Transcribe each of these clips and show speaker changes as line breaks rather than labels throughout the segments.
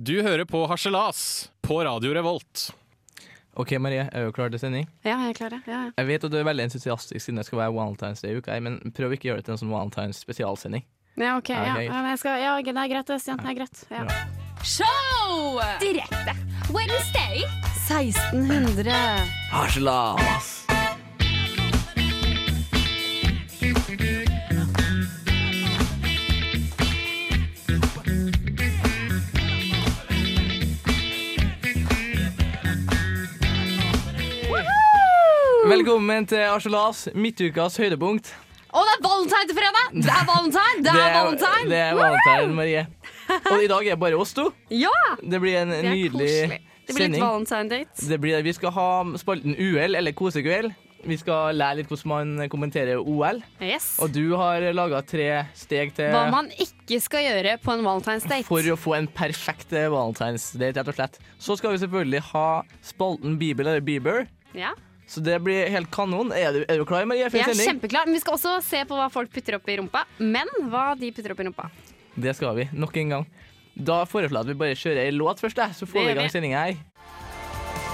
Du hører på Harselas på Radio Revolt.
OK, Marie, er du klar til sending?
Ja, jeg er klar, ja. ja, ja.
Jeg vet at du er veldig entusiastisk siden det skal være Valentine's Day i uka, men prøv ikke å gjøre det til en sånn Valentine's spesialsending.
Ja, ok, ja.
Ja,
ja,
greit.
men jeg skal, ja, det er greit, det, Stian. Det er greit. Ja.
Show! Direkte. Wednesday.
1600.
Harselas! Velkommen til Harselas, midtukas høydepunkt.
Å, det er valentine til fredag! Det er valentine! Det er valentine!
Det er valentine, Marie. Og i dag er det bare oss to.
Ja!
Det blir en
Det er
nydelig
koselig. Det blir litt
sending.
valentine-date.
Det blir, vi skal ha spalten UL, eller kosekveld. Vi skal lære litt hvordan man kommenterer OL.
Yes.
Og du har laga tre steg til
Hva man ikke skal gjøre på en valentine's-date.
for å få en perfekt valentinsdate, rett og slett. Så skal vi selvfølgelig ha spalten Bibel eller Bieber.
Ja.
Så det blir helt kanon. Er du, er du klar, Marie? For
Jeg
en
er
sending?
kjempeklar, men vi skal også se på hva folk putter opp i rumpa. Men hva de putter opp i rumpa.
Det skal vi. Nok en gang. Da foreslår jeg at vi bare kjører ei låt først, jeg, så
Det
får vi i
gjør
gang
vi.
sendinga her.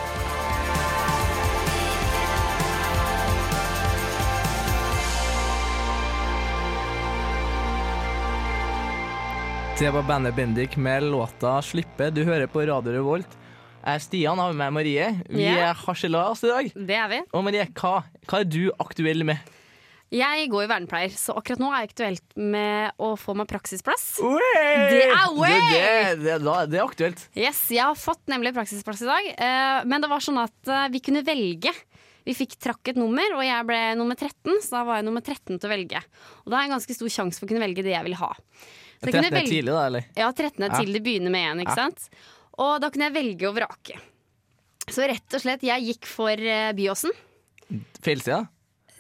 Det var bandet Bendik med låta 'Slippe'. Du hører på Radio Revolt. Jeg er Stian, har med meg Marie. Vi
Ja.
er harselas i dag.
Det er vi.
Og Marie, hva, hva er du aktuell med?
Jeg går i vernepleier, så akkurat nå er jeg aktuelt med å få meg praksisplass.
Det
er way!
Det, det, det, da- det er aktuelt.
Yes, Jeg har fått nemlig praksisplass i dag, eh, men det var sånn at eh, vi kunne velge. Vi fikk trakk et nummer, og jeg ble nummer 13, så da var jeg nummer 13 til å velge. Og da er en ganske stor sjanse for å kunne velge det jeg vil ha. Så jeg
13
kunne
er
velge-
tidlig, da, eller?
Ja, 13 er
Ja.
til det begynner med igjen, ikke sant? Og da kunne jeg velge og vrake. Så rett og slett, jeg gikk for eh, Byåsen.
Feilsida?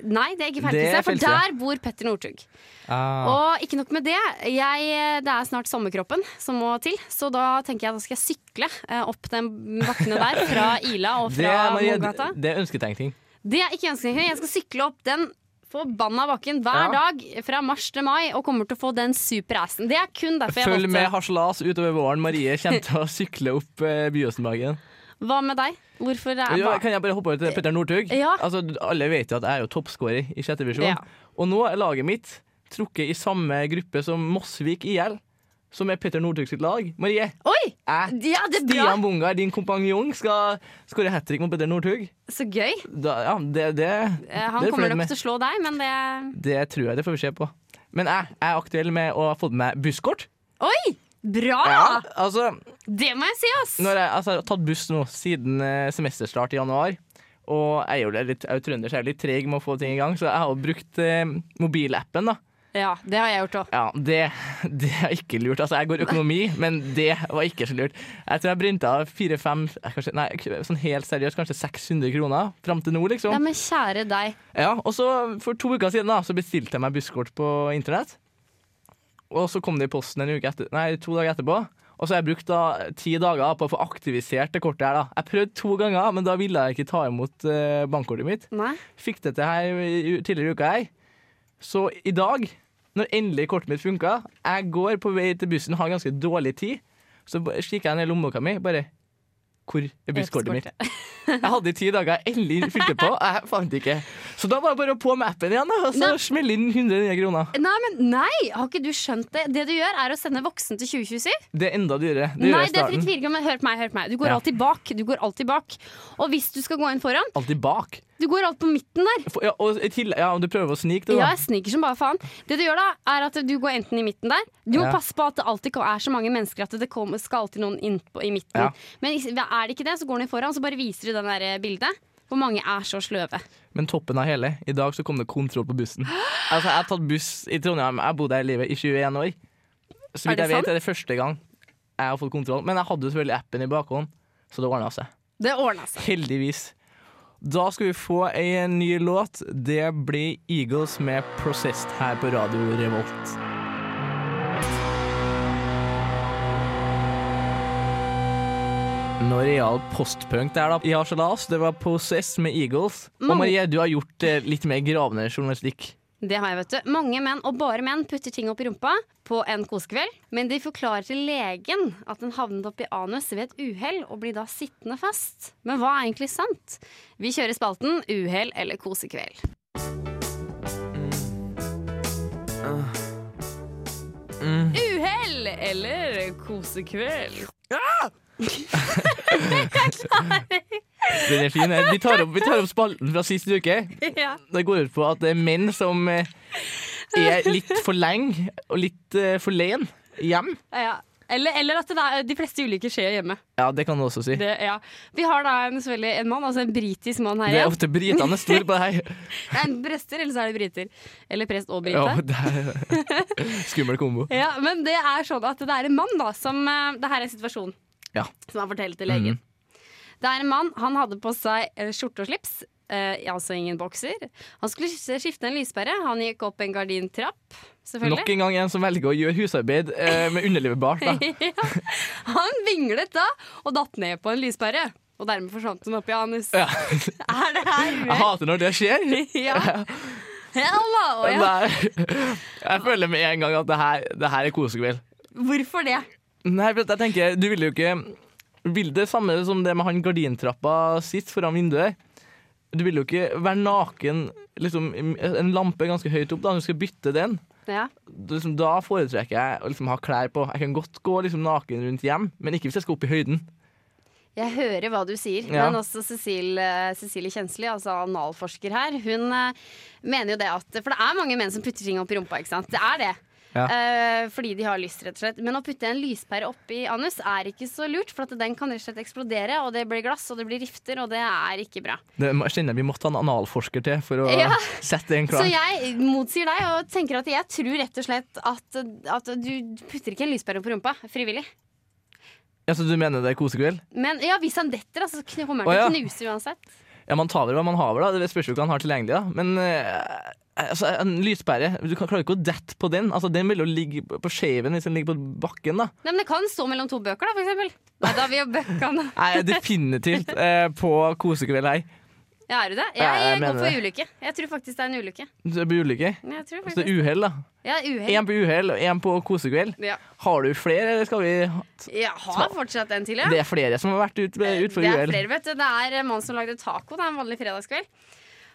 Nei, det er ikke
Det er
feilsida, for
feilsida.
der bor Petter Northug.
Ah.
Og ikke nok med det, jeg, det er snart sommerkroppen som må til. Så da tenker jeg at da skal jeg sykle eh, opp den bakkene der fra Ila og
Det
fra
er, Marie,
Målgata.
det er ønsketenkning.
Det er ikke ønsketenkning. Jeg skal sykle opp den forbanna bakken
Ja.
hver dag fra mars til mai og kommer til å få den superassen. Det er kun derfor jeg
Følg med
valgte.
harselas utover våren. Marie kommer til å sykle opp eh, Byåsenbagen.
Hva med deg? Hvorfor det er
Jo,
hva?
Kan jeg bare hoppe over til Petter Northug?
Ja.
Altså, alle vet jo at jeg er jo toppskårer i sjette divisjon.
Ja.
Og nå er laget mitt trukket i samme gruppe som Mosvik IL, som er Petter Northug sitt lag. Marie,
Oi!
jeg,
Ja, det er bra!
Stian Bungar, din kompanjong, skal skåre hat trick mot Petter Northug.
Så gøy.
Da, ja, det, det,
Eh, Han
det er
kommer
fornøyd
nok
med.
til å slå deg, men det
det tror jeg det får vi se på. Men jeg, jeg er aktuell med å ha fått med meg busskort.
Oi! Bra!
Altså,
Det må jeg si, ass!
Når jeg, altså, jeg har tatt buss nå siden eh, semesterstart i januar. Og jeg er jo litt jeg er jo trønder, så jeg er litt treg med å få ting i gang, så jeg har jo brukt eh, mobilappen. da.
Ja, det har jeg gjort òg.
Ja, det, det er ikke lurt. Altså, jeg går økonomi, men det var ikke så lurt. Jeg tror jeg brynta fire-fem, nei, sånn helt seriøst, kanskje 600 kroner fram til nå,
Ja,
liksom.
men kjære deg.
Ja, og så for to uker siden da, så bestilte jeg meg busskort på internett. Og så kom det i posten en uke etter, nei, to dager etterpå. Og så har jeg brukt da ti dager på å få aktivisert det kortet her. da. Jeg prøvde to ganger, men da ville jeg ikke ta imot eh, bankkortet mitt.
Nei.
Fikk det til her i- tidligere i uka her. Så i dag, når endelig kortet mitt funka, jeg går på vei til bussen, har ganske dårlig tid, så ba- kikker jeg ned i lommeboka mi, bare Hvor er busskortet mitt? Jeg hadde i ti dager, jeg endelig fylte på, jeg fant det ikke. Så da var det bare å på med appen igjen, da, og så
Nei.
smelle inn 100 nye kroner.
Nei, men nei! Har ikke du skjønt det? Det du gjør, er å sende voksen til 2027.
Det er enda dyrere. Det gjør jeg i
Nei, det trenger
starten.
ikke virke, men hør på meg. hør på meg Du går
Ja.
alltid bak. Du går alltid bak Og hvis du skal gå inn foran,
Alltid bak.
du går alt på midten der.
For, ja, og i tillegg, ja, om du prøver å snike det,
Ja,
da.
jeg sniker som bare faen. Det du gjør da, er at du går enten i midten der. Du må
Ja.
passe på at det alltid er så mange mennesker at det kommer- skal alltid noen inn på, i midten.
Ja.
Men is- er det ikke det, så går den i foran, så bare viser du den det der eh, bildet. Hvor mange er så sløve.
Men toppen av hele, i dag så kom det kontroll på bussen. Altså, jeg har tatt buss i Trondheim, jeg har bodd her i livet i 21 år. Så
Er
vidt
det
jeg vet,
sant?
er det første gang jeg har fått kontroll. Men jeg hadde jo selvfølgelig appen i bakhånd, så det ordna seg.
Det ordna seg.
Heldigvis. Da skal vi få ei ny låt. Det blir Eagles med 'Processed' her på Radio Revolt. Noe real postpunk der, da. I Harselas, det var 'Possess' med Eagles. Og
Mange-
Marie, du har gjort eh, litt mer gravende journalistikk.
Det har jeg, vet du. Mange menn, og bare menn, putter ting opp i rumpa på en kosekveld. Men de forklarer til legen at den havnet oppi anus ved et uhell, og blir da sittende fast. Men hva er egentlig sant? Vi kjører spalten uhell eller kosekveld. Uhell eller kosekveld?
Den er fin. her. Vi tar opp, vi tar opp spalten fra sist uke.
Ja.
Det går ut på at det er menn som eh, er litt for lenge og litt eh, for len hjem.
ja. Eller, eller at det er, de fleste ulykker skjer hjemme.
Ja, det kan du også si.
Det, ja. Vi har da en, selvfølgelig en mann, altså en britisk mann her
Det er
igjen.
ofte britene store på det her.
Det er en prester, eller så er det briter. Eller prest og brite.
Ja, det er skummel kombo.
Ja, men det er sånn at det er en mann da som eh, Det her er situasjonen
Ja.
som han forteller til legen.
Mhm.
Det er en mann. Han hadde på seg eh, skjorte og slips. eh, altså ingen bokser. Han skulle skifte skifte en lyspære. Han gikk opp en gardintrapp,
Nok
selvfølgelig.
en gang en som velger å gjøre husarbeid eh, med underlivet bart. Da.
Han vinglet da og datt ned på en lyspære. Og dermed forsvant han opp i anus.
Ja.
Er det her
Jeg hater når det skjer.
Ja. Hello, ja.
Nei. Jeg føler med en gang at det her, det her er kosekveld.
Hvorfor det?
Nei, for jeg tenker, du vil jo ikke Vil det samme som det med han gardintrappa sist foran vinduet. Du vil jo ikke være naken liksom, En lampe er ganske høyt opp, da, når du skal bytte den.
Ja.
Da Liksom, da foretrekker jeg å liksom, ha klær på. Jeg kan godt gå liksom, naken rundt hjem, men ikke hvis jeg skal opp i høyden.
Jeg hører hva du sier,
Ja.
men også Cecil, eh, Cecilie Kjensli, altså analforsker her, hun eh, mener jo det at For det er mange menn som putter ting opp i rumpa, ikke sant? Det er det.
Ja.
Eh, fordi de har lyst, rett og slett. Men å putte en lyspære oppi anus er ikke så lurt, for at den kan rett og slett eksplodere, og det blir glass, og det blir rifter, og det er ikke bra.
Det jeg kjenner jeg vi måtte ha en analforsker til for å
Ja.
sette den
Så
klar.
jeg motsier deg og tenker at jeg tror rett og slett at, at du putter ikke en lyspære opp i rumpa frivillig.
Ja, så du mener det er kosekveld?
Men ja, hvis han detter, altså, så kommer han
Å,
til å
ja.
knuse uansett.
Ja, man tar vel hva man har, vel, da. Det spørs jo hva han har tilgjengelig. da. Men eh, altså, en lyspære Du kan- klarer jo ikke å dette på den. Altså, Den vil jo ligge på skeiven hvis den ligger på bakken. da.
Nei, men det kan stå mellom to bøker, da, for eksempel. Nei, da vil jeg bøkke han. da.
Jeg er definitivt eh, på kosekveld her.
Ja, er du det? Jeg,
Ja, jeg
går
mener
for
det.
ulykke. Jeg tror faktisk det er en ulykke.
Det blir ulykke.
Jeg
Så
tror
det
faktisk.
er uhell, da.
Ja, uhell.
Én på uhell og én på kosekveld.
Ja.
Har du flere, eller skal vi ha-
Jeg har fortsatt en til, ja. Eh,
Det er flere som har vært ut, utfor
det er
uhell.
flere, vet du. Det er en mann som lagde taco da, en vanlig fredagskveld.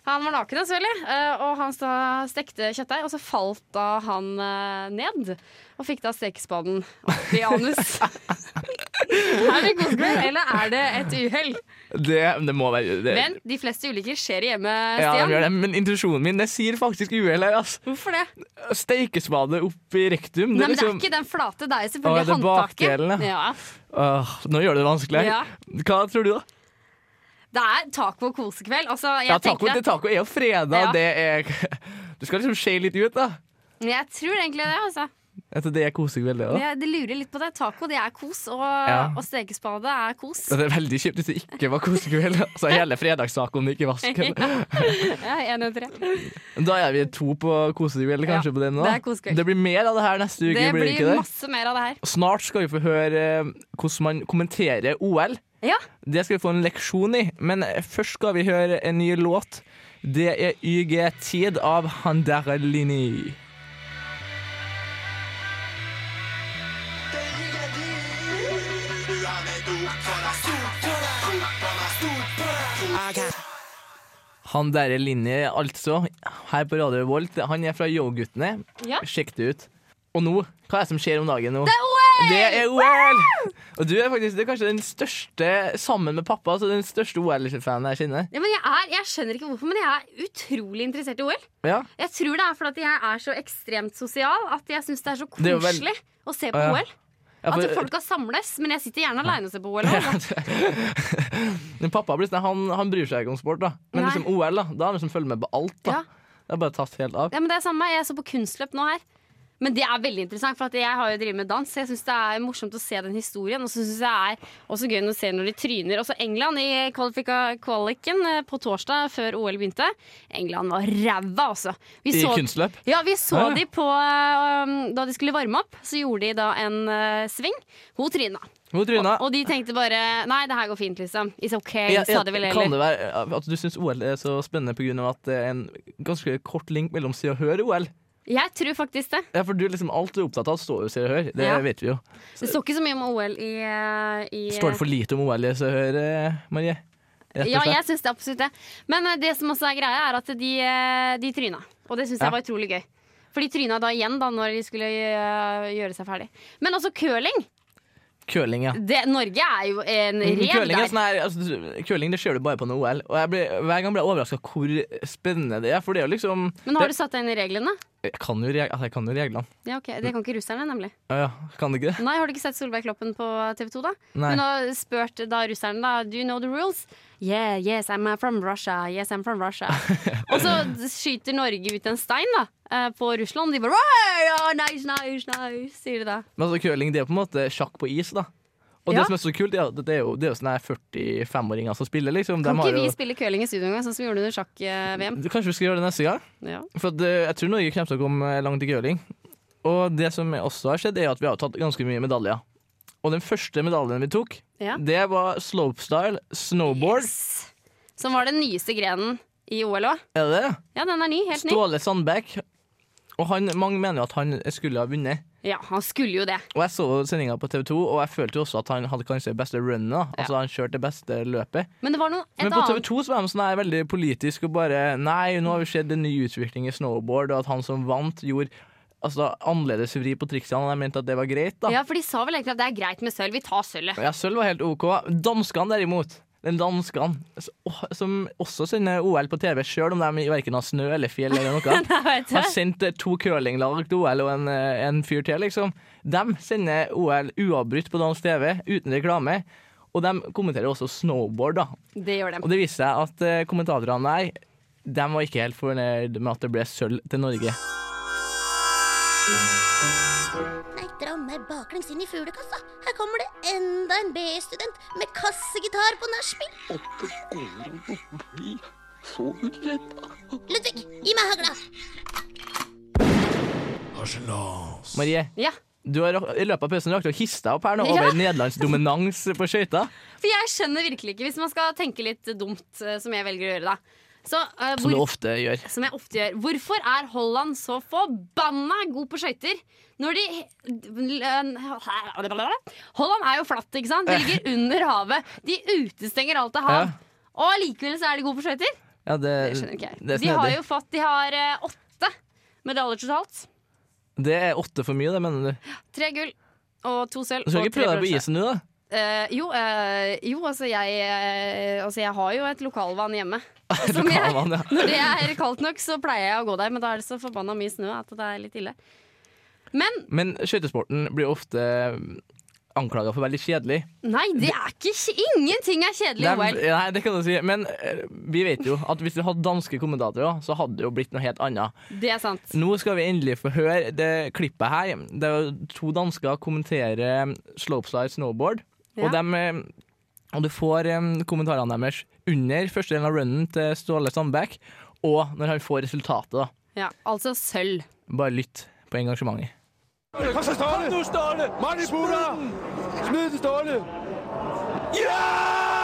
Han var naken, selvfølgelig, eh, og han sta- stekte kjøttdeig. Og så falt da han eh, ned, og fikk da stekespaden opp i anus. er det kosekveld, eller er det et uhell?
Det, det må være det.
Men de fleste ulykker skjer hjemme,
ja, de
Stian.
gjør det. Men intuisjonen min det sier faktisk uhell her. altså.
Hvorfor det?
Steikespade opp i rektum.
Nei,
er
men Det er
liksom-
ikke den flate, det er
Å,
jo
det
selvfølgelig
er bakdelen,
håndtaket. Ja.
Åh, nå gjør du det vanskelig.
Ja.
Hva tror du, da?
Det er taco og kosekveld. Altså, jeg,
Ja, taco,
tenker
det,
at,
taco er jo fredag.
Ja.
Det er, du skal liksom skje litt ut, da.
jeg tror egentlig det. Altså.
Etter det er kosekveld, det òg.
Jeg, det lurer litt på det. Taco det er kos, og, og stekespade er kos.
Det er veldig kjipt hvis det ikke var kosekveld. Altså hele fredagstacoen gikk i vasken.
Ja, en av tre.
Da er vi to på kosekveld, kanskje,
Ja,
på den nå.
det er kosekveld.
Det blir mer av det her neste uke,
Det
blir det
blir
ikke det?
masse mer av det her.
Snart skal vi få høre eh, hvordan man kommenterer OL.
Ja,
Det skal vi få en leksjon i, men først skal vi høre en ny låt. Det er YG-tid av Handara Lini. Handara Lini, altså, her på Radio Volt. Han er fra Yo-guttene.
Ja.
Sjekk det ut. Og nå, hva er det som skjer om dagen nå?
det er OL!
Det er OL! Og du er faktisk det er kanskje den største, sammen med pappa, altså den største OL-fanen jeg kjenner.
Ja, men jeg, er, jeg skjønner ikke hvorfor, men jeg er utrolig interessert i OL.
Ja.
Jeg tror det er fordi jeg er så ekstremt sosial at jeg syns det er så
Det er jo
koselig
vel-
å se på
Å, ja.
OL.
Ja,
At
for-
folka samles, men jeg sitter gjerne aleine og ser på OL. også.
Men pappa blir sånn, han, han bryr seg ikke om sport, da. Men
Nei.
liksom OL, da, da er han liksom følger med på alt. da.
Ja.
Det har bare tatt helt av.
Ja, men det er samme. Jeg så på kunstløp nå her. Men det er veldig interessant, for at jeg har jo drevet med dans. så Jeg syns det er morsomt å se den historien. Og så syns jeg det er også gøy å se når de tryner. Også England i kvalifika- kvaliken eh, på torsdag før OL begynte. England var ræva, altså. Vi
I
så-
kunstløp.
ja, vi så
Ja.
de på um, Da de skulle varme opp, så gjorde de da en eh, sving. Hun tryna.
Hvor tryna?
Og de tenkte bare Nei, det her går fint, liksom. It's OK,
Ja, ja,
sa de vel
kan
heller.
det være at du syns OL er så spennende pga. at det er en ganske kort link mellom Se og Hør og OL?
Jeg tror faktisk det.
Ja, for du er liksom alt du er opptatt av, står jo i Se og Hør. Det
Ja.
vet vi jo.
Det står ikke så mye om OL i, eh, i
Står det for lite om OL i Se og Hør, eh, Marie? Rett og
Ja,
slett.
jeg syns det absolutt det. Men eh, det som også er greia, er at de, eh, de tryna. Og det syns
Ja.
jeg var utrolig gøy. For de tryna da igjen, da, når de skulle eh, gjøre seg ferdig. Men også curling.
Curling, ja.
Det, Norge er jo en rev
Curling, er
der.
sånn her, altså, du- curling det ser du bare på noe OL. Og jeg ble, hver gang ble jeg overraska hvor spennende det er. For det er jo liksom
Men har du satt deg inn i reglene?
det, jeg, kan jo, reg- altså, jeg kan jo reglene.
Ja, ok, Det kan ikke russerne, nemlig.
Ja, ja, kan det ikke det?
Nei, Har du ikke sett Solveig Kloppen på TV 2, da?
Nei.
Hun har spurt da russerne da Do you know the rules? Yeah, yes, I'm uh, from Russia. Yes, I'm from Russia. Og så skyter Norge ut en stein da eh, på Russland. De bare «Oi, ja, nice, nice, nice, sier de da.
Men altså, curling det er på en måte sjakk på is, da. Og
Ja.
det som er så kult, det er, at det er jo, det er jo sånne her 45-åringer som spiller, liksom. De
Kan
har
ikke vi
jo, Mm.
spille curling i studio engang, sånn som vi gjorde under sjakk-VM?
kanskje vi skal gjøre det neste gang?
Ja.
For at, eh, jeg tror Norge kommer til å komme eh, langt i curling. Og det som også har skjedd, er at vi har tatt ganske mye medaljer. Og den første medaljen vi tok,
Ja.
det var slopestyle, snowboard.
Yes. Som var den nyeste grenen i OL òg.
Er det det?
Ja, den er ny. Helt ny.
Ståle Sandbekk. Og han, mange mener jo at han skulle ha vunnet.
Ja, han skulle jo det.
Og jeg så sendinga på TV 2, og jeg følte jo også at han hadde kanskje det beste runnet. da. Altså han kjørte det beste løpet.
Men det var noe et
Men på TV
annet
2 så var de sånn her veldig politisk og bare Nei, nå har vi sett en ny utvikling i snowboard, og at han som vant, gjorde altså, annerledes vri på triksene. Og jeg mente at det var greit, da.
Ja, for de sa vel egentlig at det er greit med sølv. Vi tar sølvet.
Ja, sølv var helt OK. Danskene derimot, den danskene s- åh, som også sender OL på TV, sjøl om de verken har snø eller fjell eller noe.
vet
Har sendt eh, to curlinglag til OL og en, eh, en fyr til, liksom. De sender OL uavbrutt på dansk TV, uten reklame. Og de kommenterer også snowboard, da.
Det gjør de.
Og det viser seg at eh, kommentatorene der de var ikke helt fornøyd med at det ble sølv til Norge.
Nei, dra meg baklengs inn i fuglekassa. Her kommer det enda en BI-student med kassegitar på nachspiel. Ludvig, gi meg hagla.
Marie,
Ja.
du har i løpet av pausen rakt å hisse deg opp her nå over
Ja.
Nederlands dominans på skøyter.
For jeg skjønner virkelig ikke, hvis man skal tenke litt dumt, eh, som jeg velger å gjøre da. Så, eh,
Som du
hvor,
ofte gjør.
som jeg ofte gjør. Hvorfor er Holland så forbanna god på skøyter? Når de Holland er jo flatt, ikke sant? De ligger under havet. De utestenger alt av hav.
Ja.
Og allikevel så er de gode på skøyter.
Ja, det,
Det skjønner ikke
det er
jeg. De har
snedig.
jo fått De har eh, åtte medaljer totalt.
Det er åtte for mye, det mener du.
Tre gull og to sølv.
Du skal
og
ikke
tre
prøve deg på
bronse.
isen nå, da?
Eh, jo, eh, jo altså, jeg, eh, altså jeg har jo et lokalvann hjemme. Som jeg,
Lokalvann, ja.
når det er kaldt nok, så pleier jeg å gå der, men da er det så forbanna mye snø at det er litt ille. Men
Men skøytesporten blir ofte anklaga for veldig kjedelig.
nei, det er ikke kj- Ingenting er kjedelig i
Det er-
OL.
nei, det kan du si. Men eh, vi vet jo at hvis vi hadde danske kommentatorer, så hadde det jo blitt noe helt annet.
Det er sant.
Nå skal vi endelig få høre det klippet her. Det er jo to dansker kommenterer slopestyle snowboard. Og,
Ja.
dem, eh, og du får eh, kommentarene deres under første delen av runnen til Ståle Sandbekk, og når han får resultatet. da.
Ja, altså sølv.
Bare lytt på engasjementet.
Kom så, Ståle! Kom nu, Ståle! Mann i putter! Smid den, Ståle! Ja!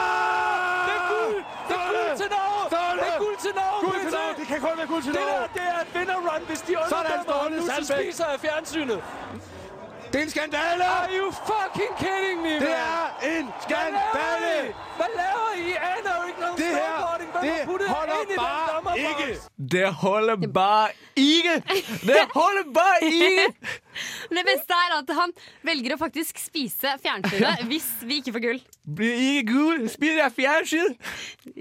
Det er guld! Det er guld til Norge! Ståle! Det er guld til Norge! Guld til Norge! Det kan kun være guld til Norge! Det der, det er et vinderrun, hvis de underdømmer ham nu, så spiser jeg fjernsynet.
Det er en skandale!
Are you fucking kidding me,
Det
mand?
er en
Hvad laver
skandale!
I? Hvad laver I? I aner jo ikke noget
Det her,
snowboarding. Hvem
det
har puttet jer
holder
ind i den
bare
dommerboks?
ikke!
Det holder bare ikke! Det holder bare ikke!
Men det beste er at han velger å faktisk spise fjernsynet hvis vi ikke får gull.
Blir ikke gul, spiser jeg fjernsyn!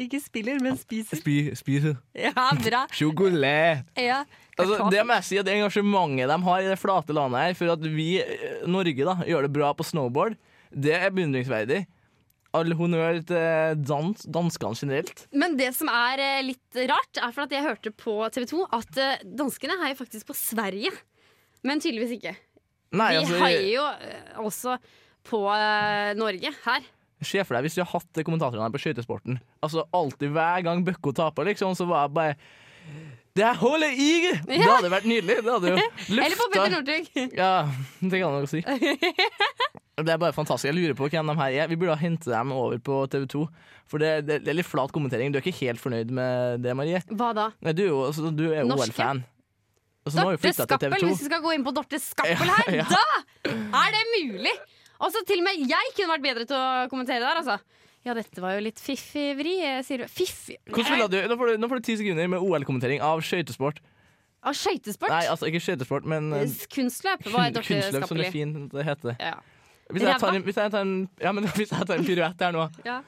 Ikke spiller, men spiser.
Spi, spiser
Ja, bra.
sjokolade.
Ja.
Altså, det må jeg si at det engasjementet de har i det flate landet her for at vi, eh, Norge, da, gjør det bra på snowboard, det er beundringsverdig. All honnør til dans, danskene generelt.
Men det som er eh, litt rart, er for at jeg hørte på TV 2 at eh, danskene heier faktisk på Sverige. Men tydeligvis ikke.
Nei,
Vi
altså,
haier jo eh, også på eh, Norge her.
Se for deg hvis du hadde hatt kommentatorene her på skøytesporten. Altså alltid Hver gang Bøkko taper, liksom, så var jeg bare Det her holder ikke! Det hadde vært nydelig. Det hadde jo
Eller på Petter
løfta
Northug.
Ja, det kan jeg nok si. Det er bare fantastisk. Jeg lurer på hvem de her er. Vi burde ha hentet dem over på TV 2. For det, det, det er litt flat kommentering. Du er ikke helt fornøyd med det, Marie?
Hva da?
Nei, du, er jo- altså, du er
Norske.
OL-fan. Altså, nå har vi
Dorte
flyttet til TV
Skappel,
2.
hvis vi skal gå inn på Dorte Skappel her,
Ja, ja.
da er det mulig! Altså, til og med jeg kunne vært bedre til å kommentere der, altså. Ja, dette var jo litt fiffig vri, eh, sier du. Fiffig?
Hvordan ville du, nå, får du, nå får du ti sekunder med OL-kommentering av skøytesport.
Av skøytesport?
Nei, altså ikke skøytesport, men eh,
S- Kunstløp var
kun-
Dorte
kunstløp, som
Skappel
det
i.
fint det heter.
Ja.
Hvis jeg tar
Ræva.
en, hvis jeg tar en, ja, men, hvis jeg tar en piruett her nå,
Ja.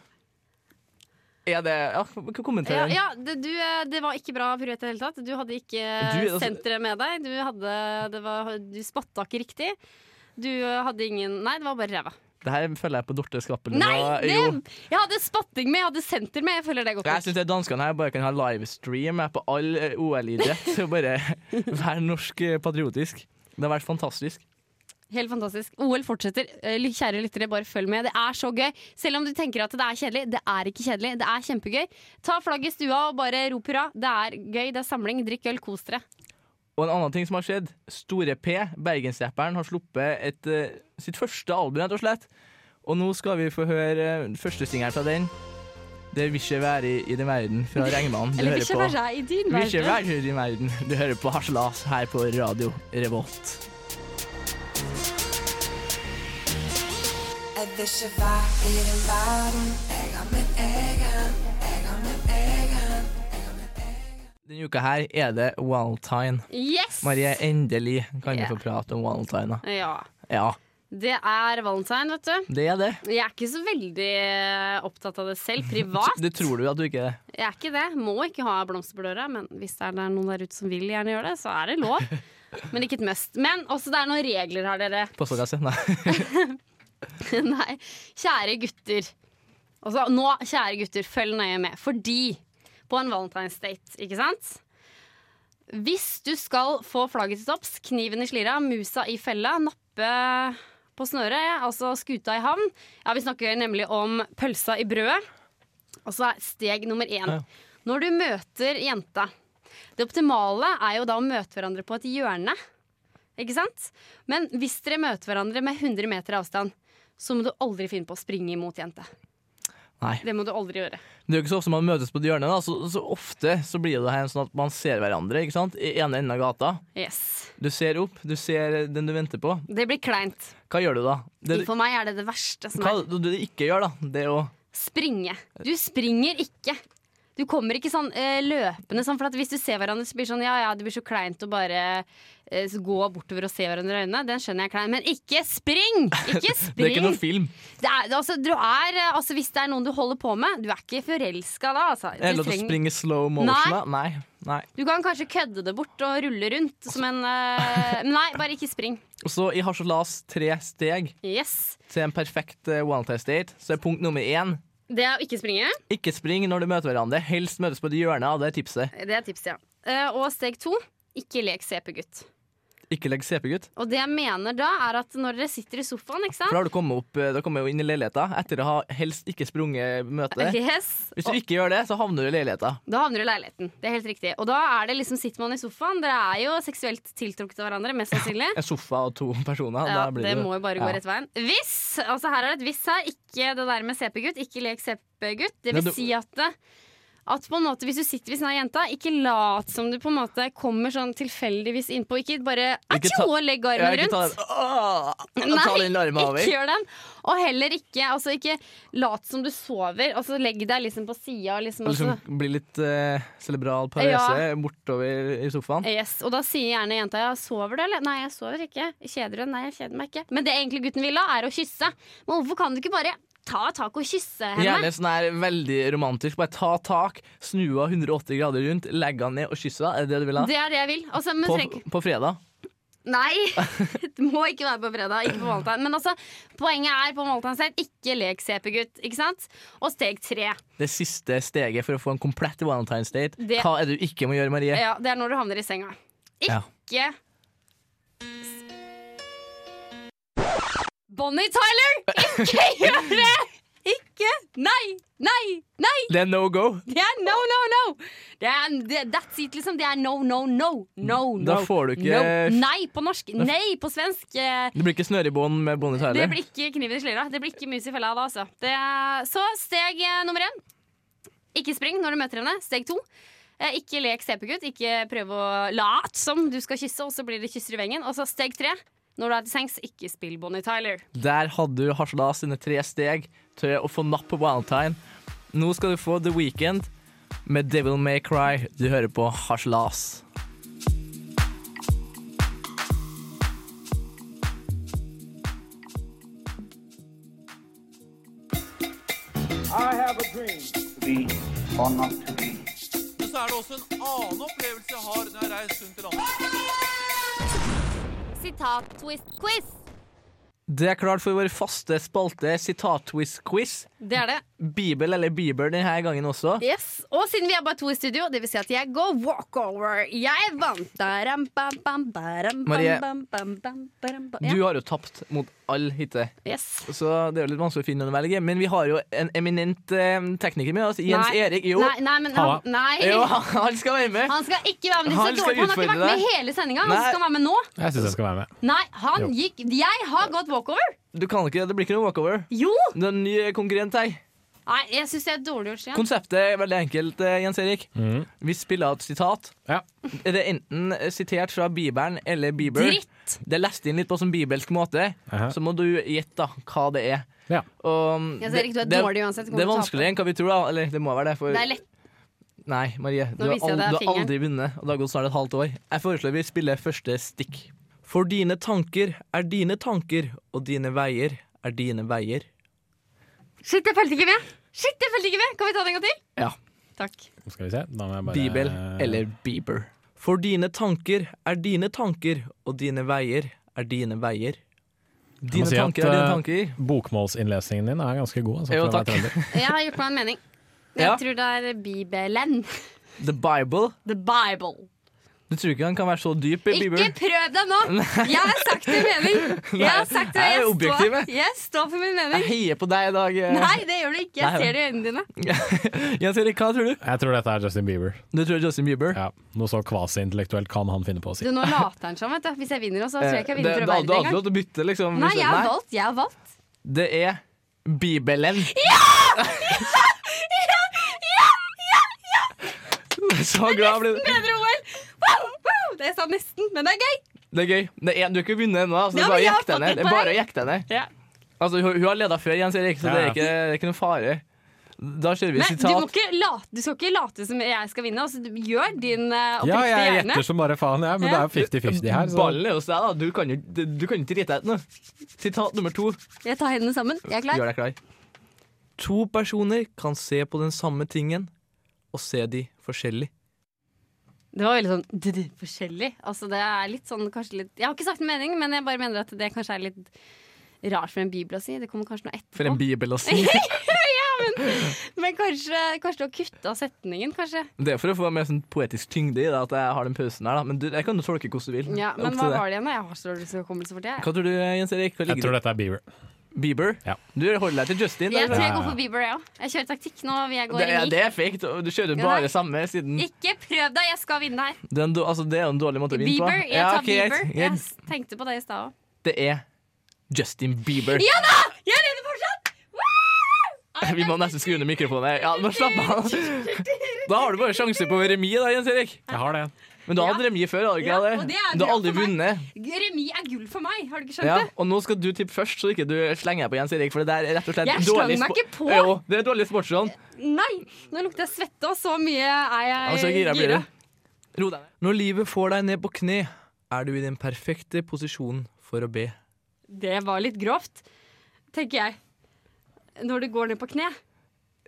er det ja, Kommenter
Ja,
den.
ja det, du, eh, det var ikke bra piruett i det hele tatt. Du hadde ikke eh,
Du, altså-
senteret med deg. Du, hadde, det var, du spotta ikke riktig. Du eh, hadde ingen Nei, det var bare ræva.
Det her følger jeg på Dorte Skappel.
Nei!
nå.
Det,
Jo.
jeg hadde spotting med, jeg hadde senter med. Jeg føler det er godt
Jeg
nok.
syns danskene her bare kan ha livestream jeg, på all eh, OL-idrett. og Bare være norsk eh, patriotisk. Det har vært fantastisk.
Helt fantastisk. OL fortsetter. Eh, Kjære lyttere, bare følg med. Det er så gøy. Selv om du tenker at det er kjedelig. Det er ikke kjedelig. Det er kjempegøy. Ta flagget i stua og bare rop hurra. Det er gøy. Det er samling. Drikk øl. Kos dere.
Og en annen ting som har skjedd. Store P, bergensrapperen, har sluppet et, eh, sitt første album, rett og slett. Og nå skal vi få høre eh, første singel fra den. Det vil ikke være i, i den verden fra Regnmannen. Du
Eller
hører
ikke
på
være i din
Vil ikke
verden.
være i din verden. Du hører på Harselas her på Radio Revolt.
Jeg vil ikke være i den verden. Jeg har min egen, jeg har min egen.
Denne uka her er det Valentine.
Yes!
Marie, endelig kan vi
Ja.
få prate om Valentine. da.
Ja.
Ja,
Det er valentine, vet du.
det er det.
Jeg er ikke så veldig eh, opptatt av det selv, privat.
Det tror du at du ikke er.
Jeg er ikke det. Må ikke ha blomster på døra, men hvis det er noen der ute som vil gjerne gjøre det, så er det lov. Men ikke et must. Men også det er noen regler her, dere.
Postkasse? Nei.
Nei. Kjære gutter. Altså, nå, kjære gutter, følg nøye med. Fordi på en Valentine's date, ikke sant? Hvis du skal få flagget til topps, kniven i slira, musa i fella, nappe på snøret, altså skuta i havn Ja, vi snakker nemlig om pølsa i brødet. Og så er steg nummer én. Når du møter jenta Det optimale er jo da å møte hverandre på et hjørne. Ikke sant? Men hvis dere møter hverandre med 100 meter avstand, så må du aldri finne på å springe imot jente.
Nei.
Det må du aldri gjøre.
Det er jo ikke så ofte man møtes på et hjørne, da. Så, så ofte så blir det her sånn at man ser hverandre ikke sant? i ene enden av gata.
Yes.
Du ser opp, du ser den du venter på.
Det blir kleint.
Hva gjør du da? Det, du-
For meg er det det verste som
hva
er.
du du ikke gjør, da, det er å
Springe. Du springer ikke. Du kommer ikke sånn eh, løpende sånn, for at hvis du ser hverandre, så blir det sånn ja ja, det blir så kleint å bare eh, gå bortover og se hverandre i øynene. Den skjønner jeg er klein, men ikke spring! Ikke spring!
Det er ikke noe film.
Det er- altså, du er, eh, altså, hvis det er noen du holder på med, du er ikke forelska da, altså. Du
Eller at du
trenger-
springer slow motion.
Nei.
da. Nei. Nei.
Du kan kanskje kødde det bort og rulle rundt som en eh, men Nei, bare ikke spring.
Og så i Harselas tre steg
Yes.
til en perfekt eh, one-time state, så er punkt nummer én
Det er å ikke springe.
ikke spring når du møter hverandre. Helst møtes på et hjørne, og det er tipset.
Det er tipset, ja. Eh, og steg to ikke lek CP-gutt.
Ikke legg CP-gutt.
Og det jeg mener da, er at når dere sitter i sofaen, ikke
For da
sant
har du kommet opp, eh, da kommer jeg jo inn i leiligheta etter å ha helst ikke sprunget møtet.
Yes.
Hvis du ikke gjør det, så havner du i leiligheta.
Da havner du i leiligheten. Det er helt riktig. Og da er det liksom, sitter man i sofaen. Dere er jo seksuelt tiltrukket av hverandre, mest sannsynlig.
En sofa og to personer.
Ja,
da blir
det
du-
må jo bare gå
Ja.
rett veien. Hvis! Altså her er det et hvis her. Ikke det der med CP-gutt. Ikke lek CP-gutt. Det
Nei,
vil
du-
si at det- at på en måte hvis du sitter ved siden av jenta, ikke lat som du på en måte kommer sånn tilfeldigvis innpå. Ikke bare
Ikke ta-
«Atjo!» og legg
Ja,
armen
ikke ta
rundt.
den, Åh! ta den larmen over.
ikke gjør den. Og heller ikke, altså, ikke lat som du sover. Altså, legg deg liksom på sida.
Og
Liksom, og så-
liksom bli litt eh, cerebral parese bortover i sofaen.
Yes, Og da sier gjerne jenta ja, 'sover du', eller? 'Nei, jeg sover ikke'. 'Kjeder du?' 'Nei, jeg kjeder meg ikke'. Men det egentlig gutten vil ha, er å kysse. Men hvorfor kan du ikke bare ta tak og kysse henne?
Gjerne sånn her veldig romantisk. Bare ta tak, snu henne 180 grader rundt, legge henne ned og kysse henne. Er det det du vil ha?
Det er det jeg vil. Altså, men
På,
trenger-
på fredag.
Nei! Det må ikke være på fredag, ikke på valentine. Men altså, poenget er på valentine selv, ikke lek CP-gutt, ikke sant? Og steg tre.
Det siste steget for å få en komplett Valentine's date.
Det-
Hva er det du ikke må gjøre, Marie?
Ja, det er når du havner i senga.
Ja.
Ikke Bonnie Tyler, ikke gjør det! Ikke! Nei! Nei! Nei!
Det er no go.
Det er no, no, no! Det er, det, that's it, liksom. Det er no, no, no. No, no.
Da får du ikke-
no. Nei på norsk. Nei på svensk. Eh,
Det blir ikke snøre i bånd med Bonnie
Det
Tyler.
blir ikke kniven i slira. Det blir ikke mus i fella da, altså. Det, så steg eh, nummer én. Ikke spring når du møter henne. Steg to. eh, Ikke lek CP-gutt. Ikke prøv å late som du skal kysse, og så blir det kysser i vengen. Og så steg tre. Når du er til sengs, ikke spill Bonnie Tyler.
Der hadde du Harselas sine tre steg til å få napp på Valentine. Nå skal du få The Weekend med Devil May Cry. Du hører på Harselas.
så er det også en annen opplevelse jeg har når jeg reiser rundt i landet.
Sitat-twist-quiz.
Det er klart for vår faste spalte sitat-twist-quiz.
Det er det.
Bibel eller Bieber denne gangen også.
Yes. Og siden vi er bare to i studio, det vil si at jeg går walkover. Jeg vant. Daram, bam, bam, baram, bam,
Marie.
bam, bam, bam, baram, bam.
Du
Ja.
har jo tapt mot alle hittil,
Yes.
så det er jo litt vanskelig å finne noen å velge. Men vi har jo en eminent eh, tekniker med oss. Jens
Nei.
Erik. Jo,
Nei, nei, men
Halla.
han, nei.
jo, han skal være med.
han skal ikke være med. Det er
Han
så
skal
dårlig. Han har ikke
utfordre
vært med
deg.
hele sendinga. Han
Nei.
skal være med nå.
Jeg syns jeg skal være med.
Nei, han
Jo.
gikk Jeg har gått walkover.
Du kan ikke, Det blir ikke noe walkover.
Jo!
Du er en ny konkurrent her.
Nei, jeg syns det er dårlig gjort. Stian.
Konseptet er veldig enkelt, eh, Jens Erik. Vi spiller et sitat.
Mm. Ja.
Er det enten sitert fra Bibelen eller Bieber?
Dritt!
Det er lest inn litt på sånn bibelsk måte.
Aha.
Så må du gjette da hva det er.
Ja.
Og,
Jens Erik, du er
det,
dårlig uansett.
Det
Du
det er
kommer til å tape.
vanskeligere enn hva vi tror, da. Eller det må være det. For,
Det er lett.
Nei, Marie. Du har,
viser
aldri,
jeg deg
du har
fingeren.
aldri vunnet, og det har gått snart et halvt år. Jeg foreslår vi spiller første stikk. For dine tanker er dine tanker, og dine veier er dine veier.
Shit, jeg fulgte ikke med! Shit, jeg fulgte ikke med! Kan vi ta det en gang til?
Ja.
Takk.
Skal vi se. Da må jeg bare
Bibel eller Bieber. For dine tanker er dine tanker, og dine veier er dine veier.
Jeg må
Dine
si at,
tanker er dine
eh,
tanker.
Bokmålsinnlesningen din er ganske god. Altså,
Jo,
for å være
takk.
trønder.
Jeg har gjort meg en mening. Jeg
Ja.
tror det er Bibelen.
The Bible.
The Bible.
Du tror ikke han kan være så dyp i Bieber?
Ikke prøv deg nå! Jeg har sagt min mening. Jeg har sagt det,
Nei, jeg er
jeg,
objektiv,
står,
jeg.
jeg står for min
Jeg
mening.
heier på deg i dag. eh.
Nei, det gjør du ikke.
Nei,
Jeg ser det i øynene dine.
Jens Erik, hva tror du?
Jeg tror dette er Justin Bieber.
Du tror Justin Bieber?
Ja. Noe så kvasi-intellektuelt kan han finne på å si.
Du, nå later han som, vet du. Hvis jeg vinner også, så tror jeg ikke jeg
Eh, det, det,
vinner til
du hadde
å være det
lov
engang.
til å bytte, liksom.
Nei,
hvis-
jeg har valgt. Jeg har valgt.
Det er Bibelen. Så glad blir du.
Bedre OL! Wow, wow. Det sa nesten, men det er gøy.
Det er gøy. Det er, du har ikke vunnet ennå. Altså, det
Ja,
er bare å jekte henne.
men jeg har fått et
Det er bare å
poeng.
jekte henne. Altså, hun, hun har leda før, Jens Erik, så det er
Ja.
ikke, det er ikke noen fare. Da kjører vi
Men du, må
sitat.
ikke late, du skal ikke late som jeg skal vinne. Altså, du- gjør din eh,
Ja,
oppriktige
jeg
hjerne.
gjetter som bare faen, jeg, men det er jo 50-50 her. Så.
Ballen er hos deg, da. Du kan jo du kan jo ikke drite deg ut nå. Sitat nummer to.
Jeg tar hendene sammen. Jeg er klar.
Gjør deg klar. To personer kan se på den samme tingen og se de forskjellig.
Det var veldig sånn d-d, forskjellig. Altså, det er litt sånn, kanskje litt Jeg har ikke sagt min mening, men jeg bare mener at det kanskje er litt rart for en bibel å si. Det kommer kanskje noe etterpå.
For en bibel å si.
Men kanskje, kanskje å kutte av setningen, kanskje.
Det er for å få mer sånn poetisk tyngde i det at jeg har den pausen her, da. Men du, jeg kan jo tolke hvordan du vil.
Ja,
Det er opp
men hva
til deg.
var det igjen? da? Jeg har så dårlig hukommelse for det. jeg.
Hva tror du, Jens Erik? Hva
Jeg
ligger
tror
du?
dette er Bieber.
Bieber?
Ja.
Du holder deg til Justin.
Jeg
eller?
tror jeg går for Bieber, jeg òg. Jeg kjører taktikk nå. vil Jeg gå
det,
i
er,
ring.
det er fake. Du- Du kjører
Ja,
bare
nei.
samme siden
Ikke prøv deg, jeg skal vinne her.
Det er en, då- altså, det er jo en dårlig måte å vinne på.
Bieber. Jeg
Ja,
tar
ok, greit.
Bieber.
Greit.
Jeg s- tenkte på det i stad òg.
Det er Justin Bieber.
Ja da! Jeg leder fortsatt!
Vi må nesten skru ned mikrofonen. Ja, nå slapp av. Da har du bare sjanse på remis, da, Jens Erik.
Jeg har det.
Men du har hatt remis før, har du
Ja,
ikke
og det
det?
er
Du har
bra
aldri
for meg.
vunnet.
Remis er gull for meg, har du ikke skjønt
Ja,
det?
og nå skal du tippe først, så ikke du slenger deg på Jens Erik, for det der er rett og slett
Jeg
dårlig
slang meg
spo-
ikke på.
Jo, det er dårlig sportsånd.
Nei! Nå lukter jeg svette, og så mye er jeg
Altså, gira blir du. Ro deg ned. Når livet får deg ned på kne, er du i den perfekte posisjonen for å be.
Det var litt grovt, tenker jeg. Når du går ned på kne.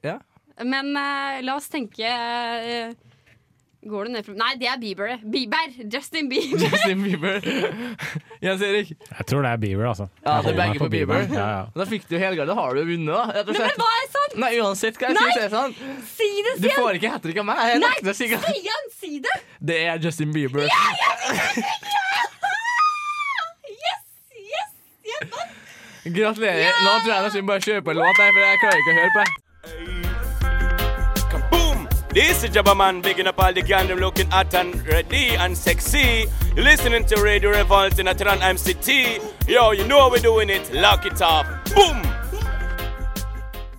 Ja.
Men eh, la oss tenke eh, Går du ned fra Nei, det er Bieber. Bieber! Justin Bieber.
Justin Bieber. Jens Erik.
Jeg tror det er Bieber, altså.
Ja,
Jeg
det er
holder
begge
meg
på Bieber.
Ja, ja.
Da fikk du helga, da har du vunnet, da. Rett og
Men
slett.
hva er sant?
Nei, uansett hva jeg
Nei!
skal si, sånn.
Si det,
Du
Stian!
får ikke hat trick av meg. Jeg nekter å si hva-
Stian, si det!
Det er Justin Bieber.
Ah! Yes! Yes! Jeg vant!
Gratulerer. Nå tror jeg nesten vi bare kjører på en låt, her, for jeg klarer ikke å høre på. det.
Boom! This is Jabba Man, bigging up all the gandam looking hot and ready and sexy. You're listening to Radio Revolt in Atlanta MCT. Yo, you know how we're doing it. Lock it up. Boom!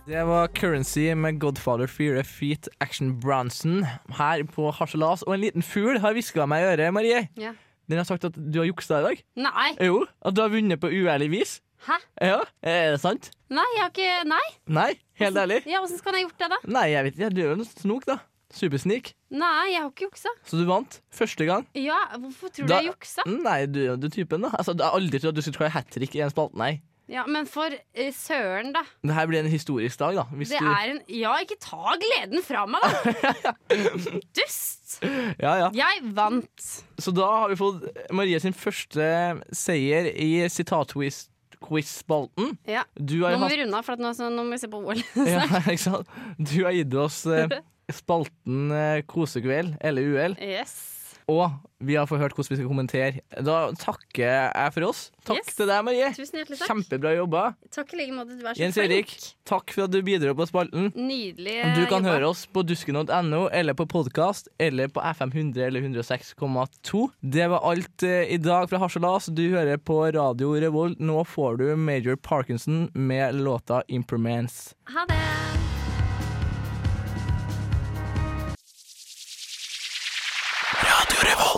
Det var Currency med Godfather Fear Feet Action Bronson her på Harselas. Og en liten fugl har hviska meg i øret, Marie.
Ja.
Den har sagt at du har juksa i dag.
Nei.
Jo, at du har vunnet på uærlig vis.
Hæ?
Ja, Er det sant?
Nei, jeg har ikke Nei.
Nei, helt ærlig.
Ja, Åssen skal han ha gjort det, da?
Nei, jeg vet ikke. Du er jo en snok, da. Supersnik.
Nei, jeg har ikke juksa.
Så du vant første gang.
Ja, Hvorfor tror du
Da- Mm.
jeg juksa?
Nei, du er jo typen, da. Altså, Jeg har aldri trodd at du skulle klare hat trick i en spalte, nei.
Ja, Men for eh, søren, da.
Det her blir en historisk dag, da. Hvis
Det
du...
er en Ja, ikke ta gleden fra meg, da! Dust!
Ja, ja.
Jeg vant.
Så da har vi fått Marie sin første seier i sitatquiz-spalten.
Ja.
Du
Nå
har
må
hatt
vi runde av, for at nå, så, nå må vi se på OL.
ja, ikke sant? Du har gitt oss eh, spalten eh, Kosekveld, eller uhell,
Yes.
og vi har fått hørt hvordan vi skal kommentere. Da takker jeg for oss. Takk
Yes.
til deg, Marie.
Tusen hjertelig takk.
Kjempebra jobba.
Takk i like måte. Du er så
Jens
flink.
Erik, takk for at du bidro på spalten.
Nydelig
Du kan høre oss på dusken.no, eller på podkast, eller på FM 100 eller 106,2. Det var alt eh, i dag fra Harselas. Du hører på Radio Revolt. Nå får du Major Parkinson med låta 'Impermance'.
Ha det.
Radio Revolt.